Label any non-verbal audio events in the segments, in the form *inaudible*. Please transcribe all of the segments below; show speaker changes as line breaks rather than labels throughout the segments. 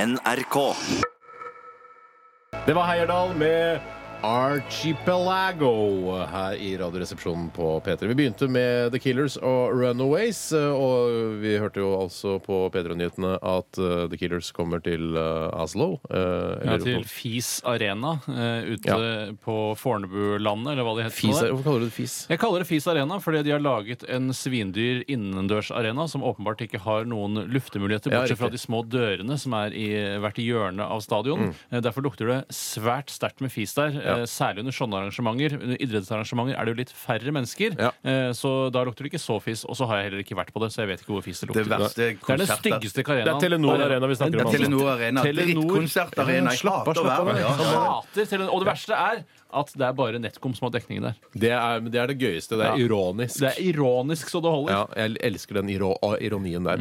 NRK.
Det var Heierdal med Archipelago her i Radioresepsjonen på P3. Vi begynte med The Killers og Runaways, og vi hørte jo altså på P3-nyhetene at eh, The Killers kommer til eh, Oslo. eh,
Ja,
eller
til
på-
Fis Arena eh, ute
Ja.
på Fornebulandet, eller hva det heter.
Fis
nå der.
er- Hvorfor kaller du det fis?
Jeg kaller det Fis Arena fordi de har laget en svindyr innendørsarena som åpenbart ikke har noen luftemuligheter,
Ja,
bortsett fra
riktig.
de små dørene som er i hvert hjørne av stadion.
Mm.
Eh, Derfor lukter det svært sterkt med fis der. eh, Særlig under sånne arrangementer. Under idrettsarrangementer er det jo litt færre mennesker,
Ja.
eh, så da lukter det ikke så fis. Og så har jeg heller ikke vært på det, så jeg vet ikke hvor fis det lukter.
Det verste
er den
konsertet-
Det
styggeste arenaen.
er Telenor Arena vi snakker om.
Ja,
altså.
Telenor Arena.
Telenor-
Drittkonsertarena. Jeg
Slapp av,
hater å
slapp av.
være med. Ja, ja, ja.
Hater Telenor. Og det verste er at det er bare NetCom som har dekning der.
Det er, men det er det gøyeste. Det er
Ja.
ironisk.
Det er ironisk så det holder.
ja, jeg elsker den iro ironien der.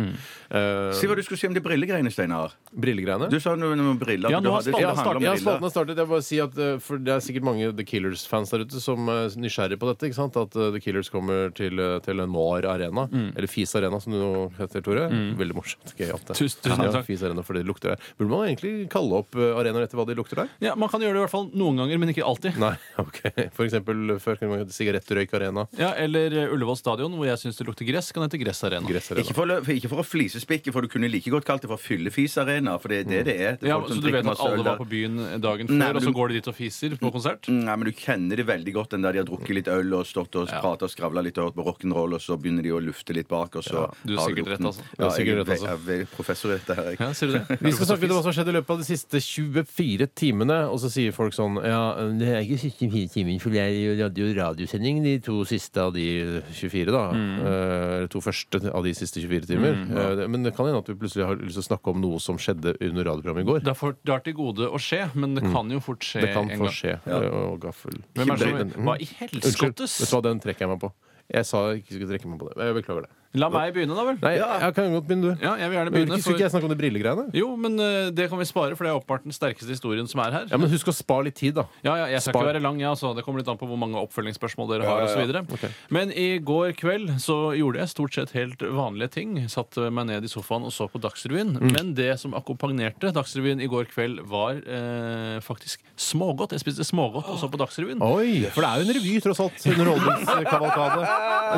Eh,
Si hva du skulle si om de brillegreiene, Steinar.
Brillegreiene?
Du sa noe om briller.
Ja,
Du
nå har
hadde-
spalten
det handler om
Ja,
briller.
spalten har startet. Jeg vil bare si at eh, for Det er sikkert mange The Killers-fans der ute som eh, er nysgjerrige på dette. ikke sant? At eh, The Killers kommer til eh, Telenor Arena,
Mm.
eller Fis Arena som du nå heter, Tore. Veldig morsomt. Gøy at det
Tusen- tusen
ja,
takk.
Fis Arena for det lukter der. Burde man egentlig kalle opp eh, arenaer etter hva de lukter der?
Ja, Man kan gjøre det i hvert fall noen ganger, men ikke alltid.
Nei, *laughs* ok. For eksempel før kunne man hete Sigarettrøyk Arena.
Ja, Eller eh, Ullevål stadion, hvor jeg syns det lukter gress, kan hete Gressarena.
Gressarena.
Ikke for, å- ikke for å flisespikke, for du kunne like godt kalt det for fyllefisarena. For det er det det er. Det
Mm.
er
Ja,
folk som
Så du
drikker
vet at
masse øl
alle
der.
var på byen eh, dagen før,
Nei, men
og så
du-
går de dit og fiser på konsert?
Nei, men Du kjenner det veldig godt, den der de har drukket litt øl og stått og prata og skravla litt og hørt på rock'n'roll, og så begynner de å lufte litt bak, og så
du er
har
sikkert rett,
lukten.
altså.
Du er sikkert rett,
jeg,
altså.
er ve- jeg er professor i dette her. Jeg.
Ja, ser du det?
*laughs* Vi skal snakke litt om hva som har skjedd i løpet av de siste 24 timene. Og så sier folk sånn Ja, det er ikke siste 24 timer, for jeg hadde jo radiosending de to siste av de 24, da.
Mm.
Eh, Eller to første av de siste 24 timer. Eh, Men det kan hende at vi plutselig har lyst til å snakke om noe som skjedde under radioprogrammet i går. Mm.
Det er for- det har til gode å skje, men det kan jo fort skje
Det kan
en
få
gang.
skje. Eh, Og gaffel.
Hvem er det som-
Mm.
hva i
Unnskyld.
helskottes?
Vet du hva, den trekker jeg meg på. Jeg sa jeg ikke skulle trekke meg på det. Jeg beklager det.
La meg begynne, da vel.
Nei, jeg kan godt begynne, du.
Ja, jeg vil
Men
gjerne
Ikke,
begynne.
skulle
for-
ikke jeg snakke om de brillegreiene?
Jo, men eh, det kan vi spare, for det er åpenbart den sterkeste historien som er her.
Ja, men husk å spare litt tid, da.
Ja, ja, jeg skal
Spar.
ikke være lang, jeg, altså. Det kommer litt an på hvor mange oppfølgingsspørsmål dere har. og så videre
Ok.
Men i går kveld så gjorde jeg stort sett helt vanlige ting. Satt meg ned i sofaen og så på Dagsrevyen. Men det som akkompagnerte Dagsrevyen i går kveld, var eh, faktisk smågodt. Jeg spiste smågodt og så på Dagsrevyen.
Oi! For det er jo en revy, tross alt.
*laughs*
Underholdningskavalkade.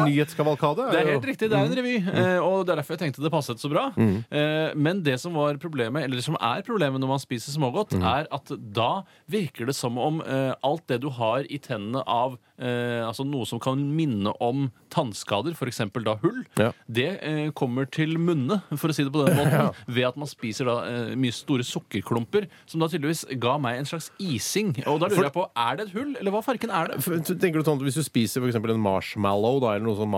En nyhetskavalkade.
Det er helt riktig. Det er en revy. eh, Og det er derfor jeg tenkte det passet så bra. Eh, Men det som var problemet, eller det som er problemet når man spiser smågodt, er at da virker det som om eh, alt det du har i tennene av eh, altså noe som kan minne om tannskader, f.eks. da hull,
Ja.
det eh, kommer til munne, for å si det på den måten, ved at man spiser da eh, mye store sukkerklumper, som da tydeligvis ga meg en slags ising. Og da lurer jeg på, er det et hull, eller hva farken er det?
F- Tenker du sånn at Hvis du spiser for eksempel en marshmallow da, eller noe sånn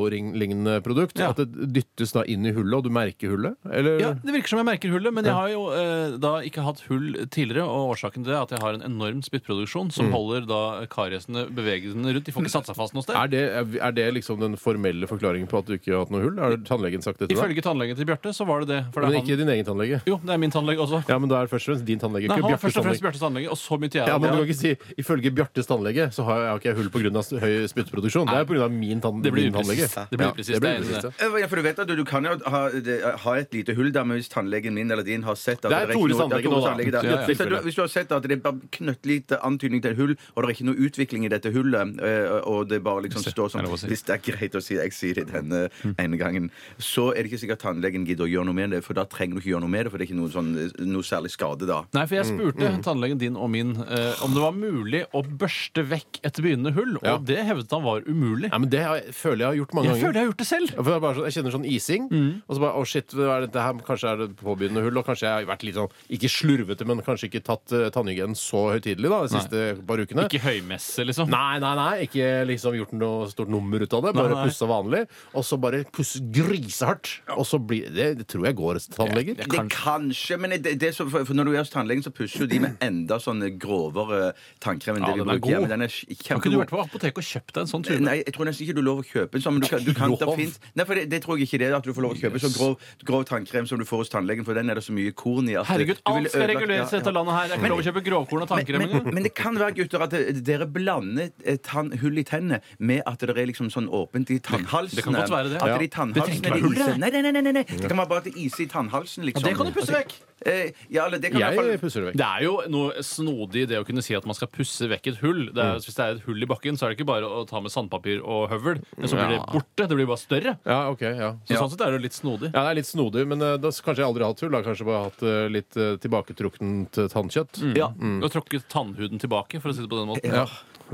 marshmallow-lignende produkt,
Ja.
at det dyttes da inn i hullet, og du merker hullet? Eller?
Ja, Det virker som jeg merker hullet, men jeg har jo eh, da ikke hatt hull tidligere. Og årsaken til det er at jeg har en enorm spyttproduksjon
Mm.
som holder da kariesene bevegelsene rundt. De får ikke satt seg fast noe sted.
Er, det, er det liksom den formelle forklaringen på at du ikke har hatt noe hull? Har tannlegen sagt det til deg?
Ifølge tannlegen til Bjarte så var det det. For det
Men
er
ikke
han,
din egen tannlege?
jo, det er min tannlege også.
Ja, men da er det først og fremst din tannlege.
Nei,
ikke
han var
Bjartes
først og
tannlege.
fremst Bjartes tannlege, og så begynte jeg.
Ja, men du kan
det,
ikke si ifølge Bjartes tannlege så har jeg, har ikke jeg hull pga. høy spyttproduksjon. Det er pga. min, tann,
det blir
min tannlege.
upresist. Det blir
Ja,
upresist.
det blir
jeg er enig i det.
upresist, ja.
Eh, Ja, for du vet at du, du kan jo ha, det- ha et lite hull der, men hvis tannlegen min eller din har sett at
Det er
ikke
Tores
noe- det er
tannlege
Tores
nå, da.
tannlege der.
Ja, ja.
Hvis, du, hvis du har sett at det er bare knøttlite antydning til et hull, og det er ikke noe utvikling i dette hullet, eh, og det bare liksom står
er
som
det lov å si?
Hvis det er greit å si, jeg sier det denne ene gangen, så er det ikke sikkert tannlegen gidder å gjøre noe med det, for da trenger du ikke gjøre noe med det, for det er ikke noe, sånn, noe særlig skade da.
Nei, for jeg
Mm,
spurte tannlegen din og min eh, om det var mulig å børste vekk et begynnende hull,
Ja.
og det hevdet han var umulig.
Ja, men det har jeg, føler jeg har gjort mange
Jeg
ganger.
føler jeg Mm. har gjort det selv.
Ja, For det er bare sånn, jeg kjenner sånn ising, og så bare Å, shit, hva er dette her? Kanskje er det påbegynnende hull, og kanskje jeg har vært litt sånn Ikke slurvete, men kanskje ikke tatt uh, tannhygienen så høytidelig, da, de siste par ukene.
Ikke høymesse, liksom.
Nei, nei, nei. Ikke liksom gjort noe stort nummer ut av det. Bare
nei.
pussa vanlig. Og så bare pusse grisehardt. Og så blir det, det tror jeg går til tannleger.
Det kanskje, men det, det som, for for når du er hos tannlegen, så pusser jo de med enda sånne grovere tannkrem enn
Ja,
det vi
den er
bruker.
god.
hjemme. den er
Har ikke du
kjempegod.
vært på apoteket og kjøpt deg en sånn tube?
Eh, Nei, jeg tror nesten ikke du lover å kjøpe en sånn. Men du kan, du kan, det,
Lov?
finnes, nei, for det, det tror jeg ikke det er at du får lov å kjøpe sånn grov, grov tannkrem som du får hos tannlegen, for den er det så mye korn i. At
Herregud,
du ville
alt skal
ødelagt-
reguleres i
ja,
dette
ja.
landet her. Det er ikke lov å kjøpe grovkorn og tannkrem
Men, men,
engang.
men det kan være gutter at det- dere blander eh, tann, hull i tennene med at det er liksom sånn åpent i tannhalsene.
Det kan godt være det.
At
Ja.
de
Det trenger ikke
tannhalsene
være
er
hull, det.
isen. Nei, nei, nei, nei, nei. Det kan være bare at det er is i tannhalsen. Liksom.
det kan du pusse vekk.
Eh, ja, eller det kan i hvert
Jeg
fall
pusser det vekk.
Det er jo noe snodig i det å kunne si at man skal pusse vekk et hull. Det
Mm.
er, Hvis det er et hull i bakken, så er det ikke bare å ta med sandpapir og høvel. Men så blir det
Ja.
borte. Det blir bare større.
Ja, ok, ja.
Så sånn sett er det litt snodig.
Ja, det er litt snodig, men eh, da, s- kanskje jeg aldri har hatt hull. Da. Kanskje bare hatt eh, litt eh, tilbaketruktent eh, tannkjøtt.
Ja.
Mm.
Du har tråkket tannhuden tilbake, for å si det på den måten.
Ja.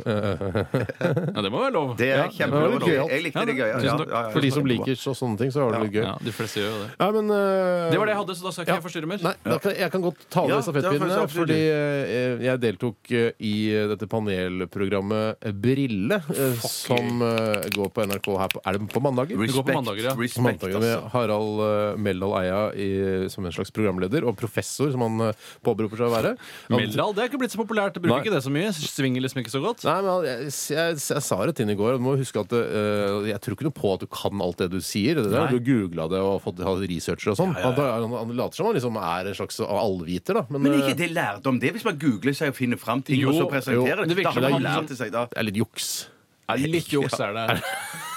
Ja, det må være lov.
Det er
det var litt
kjempelov.
gøyalt.
Jeg likte det
Ja,
gøy. Ja,
tusen
ja,
takk.
ja, ja.
For de som liker så, sånne ting, så var det litt gøy.
Ja, de fleste gjør jo det.
Nei, men eh,
Det var det jeg hadde, så da skal ikke jeg forstyrre mer.
Nei, da kan, jeg kan godt ta over
Ja,
stafettpinnen,
det er
her,
faktisk absolutt
fordi eh, jeg deltok eh, i dette panelprogrammet Brille, eh, som eh, går på NRK her på Er det på mandager?
går på mandager, ja.
respect,
Mandager med
altså.
Harald eh, Meldal Eia i, som en slags programleder, og professor, som han eh, påberoper seg å være.
Meldal det er ikke blitt så populært. Det bruker
Nei.
ikke det så mye. Svinger liksom ikke så godt.
Nei, men jeg, jeg, jeg sa det til henne i går. og Du må huske at eh, Jeg tror ikke noe på at du kan alt det du sier. Det der,
Nei.
du googla det og fått hatt researcher og sånn. Han, han, han later som han liksom er en slags allviter, da. Men,
Men
eh,
ikke det lærdom. Det er hvis man googler seg og finner fram ting,
Jo,
og så
jo,
presenterer
det
det.
virker
Da
som
har man
det er
lært det seg da.
det er litt juks.
Er litt juks er det.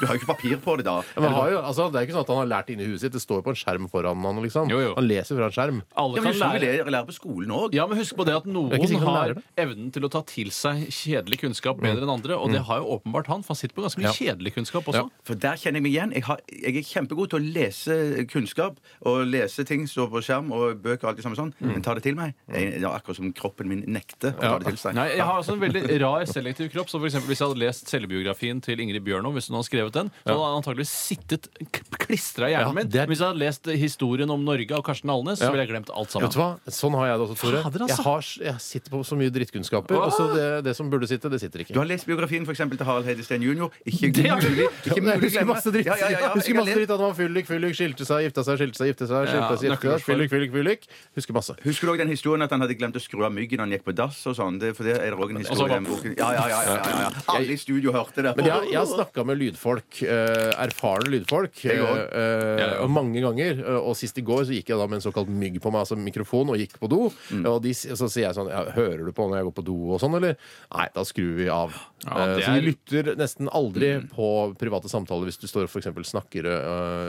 Du har jo ikke papir på det, da.
Ja, Men han har jo, altså, det er ikke sånn at han har lært det inni huset sitt. Det står jo på en skjerm foran han. liksom
Jo, jo.
Han leser fra en skjerm.
Ja,
Alle
men
kan
Sånn vil
lære.
jeg lære på skolen òg.
Ja, men husk på det at
er ikke
noen
sikkert han
har
lærer det. Mm.
evnen til å ta til seg kjedelig kunnskap bedre enn andre, og det har jo åpenbart han, for han sitter på ganske mye kjedelig kunnskap også.
For der kjenner jeg meg igjen. Jeg, har, jeg er kjempegod til å lese kunnskap. Og lese ting som står på skjerm og bøker og alt det samme sånn.
Mm.
Men ta det til meg. Jeg, det er akkurat som kroppen min nekter å ta det til seg.
Nei, Jeg har også en veldig rar selektiv kropp. Så for eksempel, Hvis jeg hadde lest selvbiografien til Ingrid Bjørnov, hvis hun hadde skrevet den, så hadde han antakeligvis sittet klistra i hjernen
Ja,
min.
det er-
Men Hvis jeg hadde lest historien om Norge av Karsten Alnes, så ville jeg glemt alt sammen.
Vet du hva? Sånn har jeg det også, Tore.
Fader, altså.
Jeg, har, jeg sitter på så mye drittkunnskaper. Og så det, det som burde sitte, det sitter ikke.
Du har lest biografien for eksempel, til Harald Heide Steen jr. Ikke
Det har jeg
mulig
Ja, men
ikke
jeg
mulig å
husker
glemme.
masse dritt.
Ja, ja, ja, ja.
Jeg husker
Jeg har
masse
lest-
dritt At han var fyllik, fyllik, skilte seg, gifta seg, skilte seg, gifte seg.
Ja,
skilte seg, gifte seg,
nøkkelordsfar.
Fyllik, fyllik, fyllik. Husker masse.
Husker du også den historien at han hadde glemt å skru av myggen når han gikk på dass? og sånn? Det, for det er det også en
Og så
historie i
bare-
den boken. Ja, ja, ja, ja, ja, ja. Alle i studio hørte det.
Men jeg, jeg har snakka med lydfolk, eh, erfarne lydfolk,
Jeg også.
eh,
Jeg også.
og mange ganger. eh, Og sist i går så gikk jeg da med en såkalt mygg på meg, altså mikrofon, og gikk på do.
Mm.
Og de, s- så sier jeg sånn ja, 'Hører du på når jeg går på do?' og sånn, eller? Nei, da skrur vi av.
Ja,
Eh,
det
Så vi
er- Mm.
lytter nesten aldri på private samtaler hvis du står og for eksempel snakker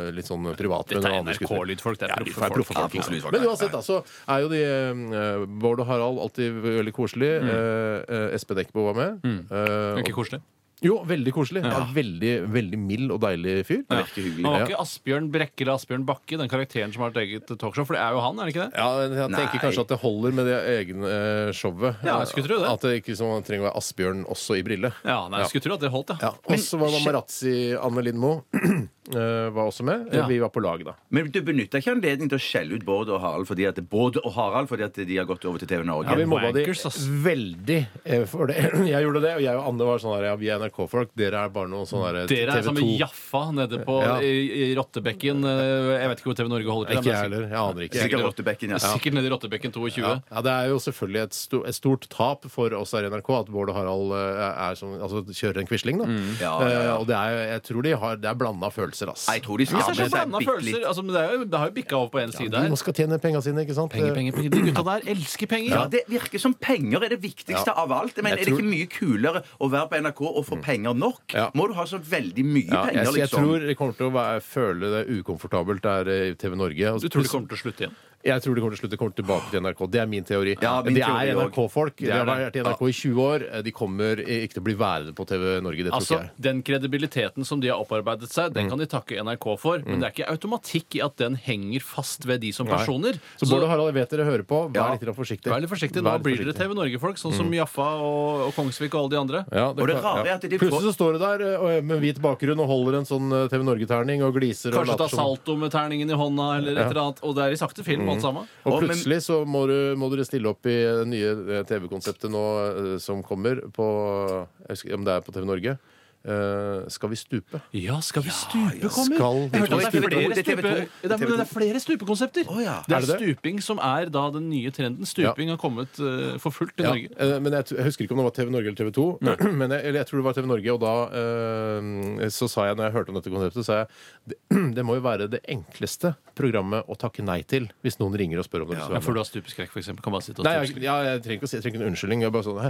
eh, litt sånn privat med
Dette
noen
er
andre skuespillere.
NRK-lydfolk. Det
Ja,
er
de får-
proffe folk.
proffe folk, liksom. Men uansett, da, så er jo de eh, Bård og Harald alltid veldig koselig.
Mm.
Eh, eh, Espen Eckbo var med. Eh,
Ikke koselig.
jo, veldig koselig. Ja. Veldig, veldig mild og deilig fyr. Ja.
Virker
Han
hyggelig.
var
Ja.
ikke Asbjørn Brekke eller Asbjørn Bakke, den karakteren som har et eget talkshow, for det er jo han, er det ikke det?
men jeg tenker
Nei.
kanskje at det holder med det egne eh, showet.
Ja, jeg skulle tro det.
At det ikke som man trenger å være Asbjørn også i brille.
Ja, nei,
Ja.
jeg skulle tro at det holdt, ja.
Ja. Og så var Marazzi Anne Lindmo *clears throat* eh, var også med.
Ja.
Vi var på lag, da.
Men du benytter ikke anledningen til å skjelle ut Bård og Harald fordi at, Bård og Harald, fordi at de har gått over til TV Norge?
Ja, vi mobba de
wankers, ass.
veldig eh, for det. *clears throat* Jeg gjorde det, og jeg og Anne var sånn her Ja, vi er NRK-folk, dere er bare noen sånne
Dere er sammen med Jaffa nede på
Ja.
i, i Rottebekken. eh, Jeg vet ikke hvor TV Norge holder til.
Ikke jeg
men
heller. Jeg aner ikke.
Sikkert Rottebekken, ja.
Sikkert nede i Rottebekken 22.
Ja. ja, Det er jo selvfølgelig et, sto, et stort tap for oss her i NRK at Bård og Harald eh, er som, altså, kjører en Quisling. da
Ja, ja, ja.
Eh, Og det er, jeg tror de har, det er blanda følelser, ass.
Nei, Jeg tror de
Ja, men det er så
skammer seg
blanda
bitte
følelser.
litt.
Altså, men det, er jo, det har jo bikka over på en side
de må
her.
skal tjene penga sine, ikke sant?
Penger, penger, penger. De gutta der elsker penger.
Ja, det virker som penger er det viktigste av alt. Men
Jeg
er det
tror- Mm.
ikke mye kulere å være på NRK og få penger nok?
Ja.
Må du ha så veldig mye
Ja, jeg,
penger,
jeg
liksom?
tror de kommer til å være, føle det ukomfortabelt der eh, i TV Norge. Og
Du tror det kommer til å slutte igjen?
Jeg tror de kommer til å slutte kommer tilbake til NRK. Det er min teori.
Ja, min
de
teori
er
også.
NRK-folk. De
Det er
har
det.
vært i NRK i 20 år. Eh, De kommer eh, ikke til å bli værende på TV Norge. Det tror
Altså,
ikke jeg. Mm.
Den kredibiliteten som de har opparbeidet seg, den kan de takke NRK for. Men det er ikke automatikk i at den henger fast ved de som
Nei.
personer.
Så Bård og Harald, jeg vet dere hører på. Vær
Ja.
litt grann forsiktig.
Vær litt forsiktig.
Vær litt
Nå blir dere
forsiktig. Mm.
TV Norge-folk, sånn som Jaffa og, og Kongsvik og alle de andre.
Ja,
Og det
kan-
rare
ja.
er at de får-
Plutselig så står du der eh, og- med hvit bakgrunn og holder en sånn eh, TV Norge-terning og gliser.
Kanskje
og later
ta
som-
salto med terningen i hånda, eller et eller annet. Og det er i sakte film, alt sammen.
Og
Å, men-
plutselig så må, du, må dere stille opp i det nye eh, TV-konseptet nå eh, som kommer på jeg husker, Om det er på TV Norge. Eh, skal vi stupe?
Ja, skal vi stupe,
kommer?
Jeg hørte at det er
Stupe.
flere
Det er TV2.
stupe... Det er, men det er flere stupekonsepter.
Å, ja.
Det
Er
er
det det?
stuping som er da den nye trenden. Stuping har kommet eh, for fullt i
Ja,
Norge.
eh, men jeg, t- jeg husker ikke om det var TV Norge eller TV 2. *clears throat* Men jeg, eller jeg tror det var TV Norge, og da eh, så sa jeg, når jeg hørte om dette konseptet, sa jeg *clears throat* det, det må jo være det enkleste programmet å takke nei til hvis noen ringer og spør om det.
Ja, for du har stupeskrekk, for eksempel. Kan bare sitte og
Nei, jeg,
stupe.
ja, jeg trenger ikke å si jeg trenger ikke en unnskyldning. Jeg er bare sånn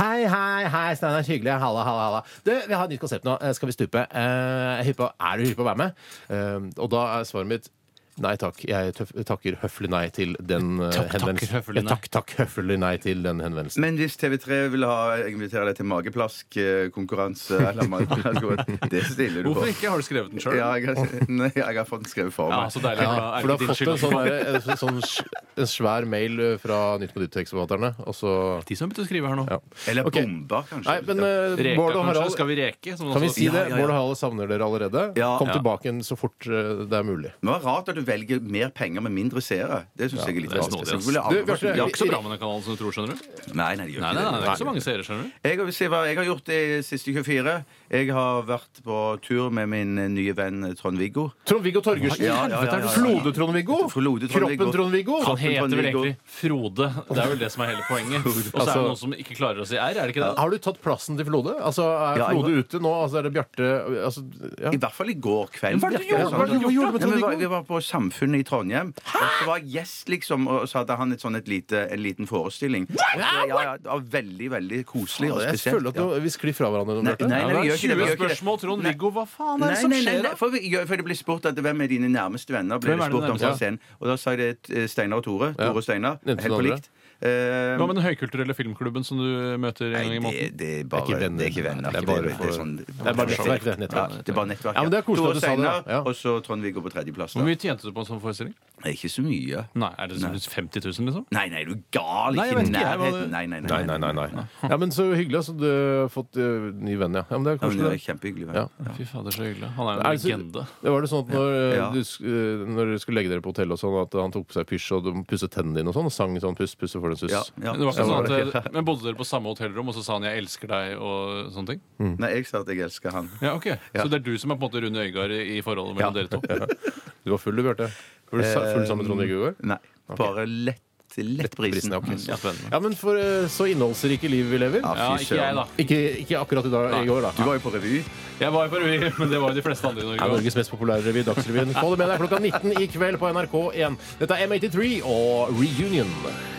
Hei, hei, hei, Steinar. Hyggelig. Halla, halla, halla. Du, vi har et nytt konsept nå. Eh, Skal vi stupe? Eh, jeg er hypp på- er du hypp på å være med? Eh, og da er svaret mitt Nei takk. Jeg tøff, takker høflig nei til den eh,
Takk,
henvendelsen.
takker høflig
Ja,
nei.
Takk, takk høflig nei til den henvendelsen.
Men hvis TV3 vil ha jeg inviterer deg til mageplask-konkurranse eller
*laughs*
mageplask, Det stiller du på.
Hvorfor ikke? Har du skrevet den sjøl?
Ja, jeg har, nei, jeg har fått den skrevet for
Ja, altså, så
meg.
deilig.
Ja, for
Er
du
det
har fått en
ikke din skyld?
sånn, der, en sånn, sånn sj- en svær mail eh, fra Nytt på Nytt-tekstforfatterne, og så
De som har begynt å skrive her nå.
ja.
Eller
Ok.
bomba, kanskje.
Nei, men eh,
Reka,
Bård og
kanskje?
Harald
Skal vi reke? Som
Kan vi
også-
si
Ja,
det?
ja, ja.
Bård og Harald savner dere allerede.
Ja.
Kom
Ja.
tilbake igjen så fort eh, det er mulig.
Men det var rart at du velger mer penger med mindre seere. Det syns jeg er litt
det er
rart.
snodig,
Så
ass.
ville
Du,
alle vært
Bjarte,
så
De har
mye-
ikke så bra med den kanalen som du tror, skjønner du.
Nei, nei, det gjør
Nei, nei,
ikke
nei, det
det.
er ikke så mange seere, skjønner du.
Jeg vil si hva jeg har gjort de siste 24. Jeg har vært på tur med min nye venn Trond-Viggo.
Trond-Viggo Torgersen.
Ja, ja, ja, ja, ja.
Flode Trond-Viggo.
Flode Trond-Viggo.
Kroppen Trond-Viggo.
Han heter vel
Trond-Viggo.
egentlig Frode. Det er vel det som er hele *laughs* poenget. Og så er det
Altså-
noen som ikke klarer å si R, er det ikke det?
Har du tatt plassen til Flode? Altså, Er
Ja, jeg-
Flode ute nå? Altså, Er det Bjarte altså, ja.
I hvert fall i går kveld.
Hva er det du
virker det
gjorde?
som.
Hva er det
gjorde med
du
Nei, men vi var-
Trond-Viggo?
Vi var på Samfunnet i Trondheim. Og så var jeg gjest, liksom, og så hadde han et sånn et lite, en liten forestilling. Ja, ja, det var veldig, veldig koselig og
Jeg
spesielt.
føler at
ja.
nå- vi sklir fra hverandre. nå,
Nei,
Bjarte.
nei,
Ja,
nei,
det er
vi gjør ikke det. Vi
20
gjør ikke det.
spørsmål, Trond-Viggo. Hva faen er
Nei,
det som
nei, nei,
skjer
nei.
da?
For, vi- ja, for det ble spurt at hvem er dine nærmeste venner. Ble
Hvem er
det
dine
spurt om
nærmeste?
fra scenen. Og da sa jeg det eh, Steinar og Tore.
Ja.
Tore og Steinar.
Den
Helt på
andre.
likt. Eh,
Hva med den høykulturelle filmklubben som du møter en gang i
Nei,
måneden?
det, det er bare
Det er ikke venner.
Det er ikke venner.
Det er
ikke
bare
venner.
for-
sånn-
det er bare nettverk, det er nettverk.
Ja, det er bare nettverk.
Ja, men det er koselig
Tore
at du sa det,
Steinar,
ja.
Og så Trond-Viggo på tredjeplass. da.
Hvor mye tjente du på en sånn forestilling?
Nei, Ikke så mye.
Nei, Er det sånn 50 000, liksom?
Nei, nei, du er gal.
Nei, jeg
Ikke i
vet ikke, jeg var-
nærheten. Nei, nei,
Nei, nei, nei, nei. Ja, men Så hyggelig altså, du har fått eh, ny venn, ja. ja men det er
Ja, men
koselig. det.
det er kjempehyggelig.
Ja.
venn.
Fy fader, så hyggelig. Han er jo
Er
en
det så-
legende.
Det var det sånn at når, eh,
Ja.
du, sk- eh, når dere skulle legge dere på hotellet, og sånn, at han tok på seg pysj og de pusset tennene dine og sånn, og sang sånn puss, puss og får en suss.
Ja, ja.
Ja,
Men, det var ikke
det var
sånn at, men bodde dere på samme hotellrom, og så sa han 'jeg elsker deg' og sånne ting?
Nei, jeg sa at jeg elsker han.
Ja, ok. Så det er du som er på en måte Rune Øygard i i forholdet mellom dere to?
Du var full, du, Bjarte. Var du
Eh,
sa- full sammen med Trond-Viggo i går?
Nei, bare lett, lett prisen.
Prisen, ok.
Ja, spennende.
Ja, men for eh, så innholdsrike liv vi lever.
Ja,
Ja,
fy
ikke jeg,
søren.
da.
Ikke, ikke akkurat i dag i går, da.
Du var jo på revy.
Jeg var i Parvi, men det var jo de fleste andre i
Det er
Norge. også.
Norges mest populære revy, Dagsrevyen. Få det med deg klokka 19 i kveld på NRK1. Dette er M83 og Reunion.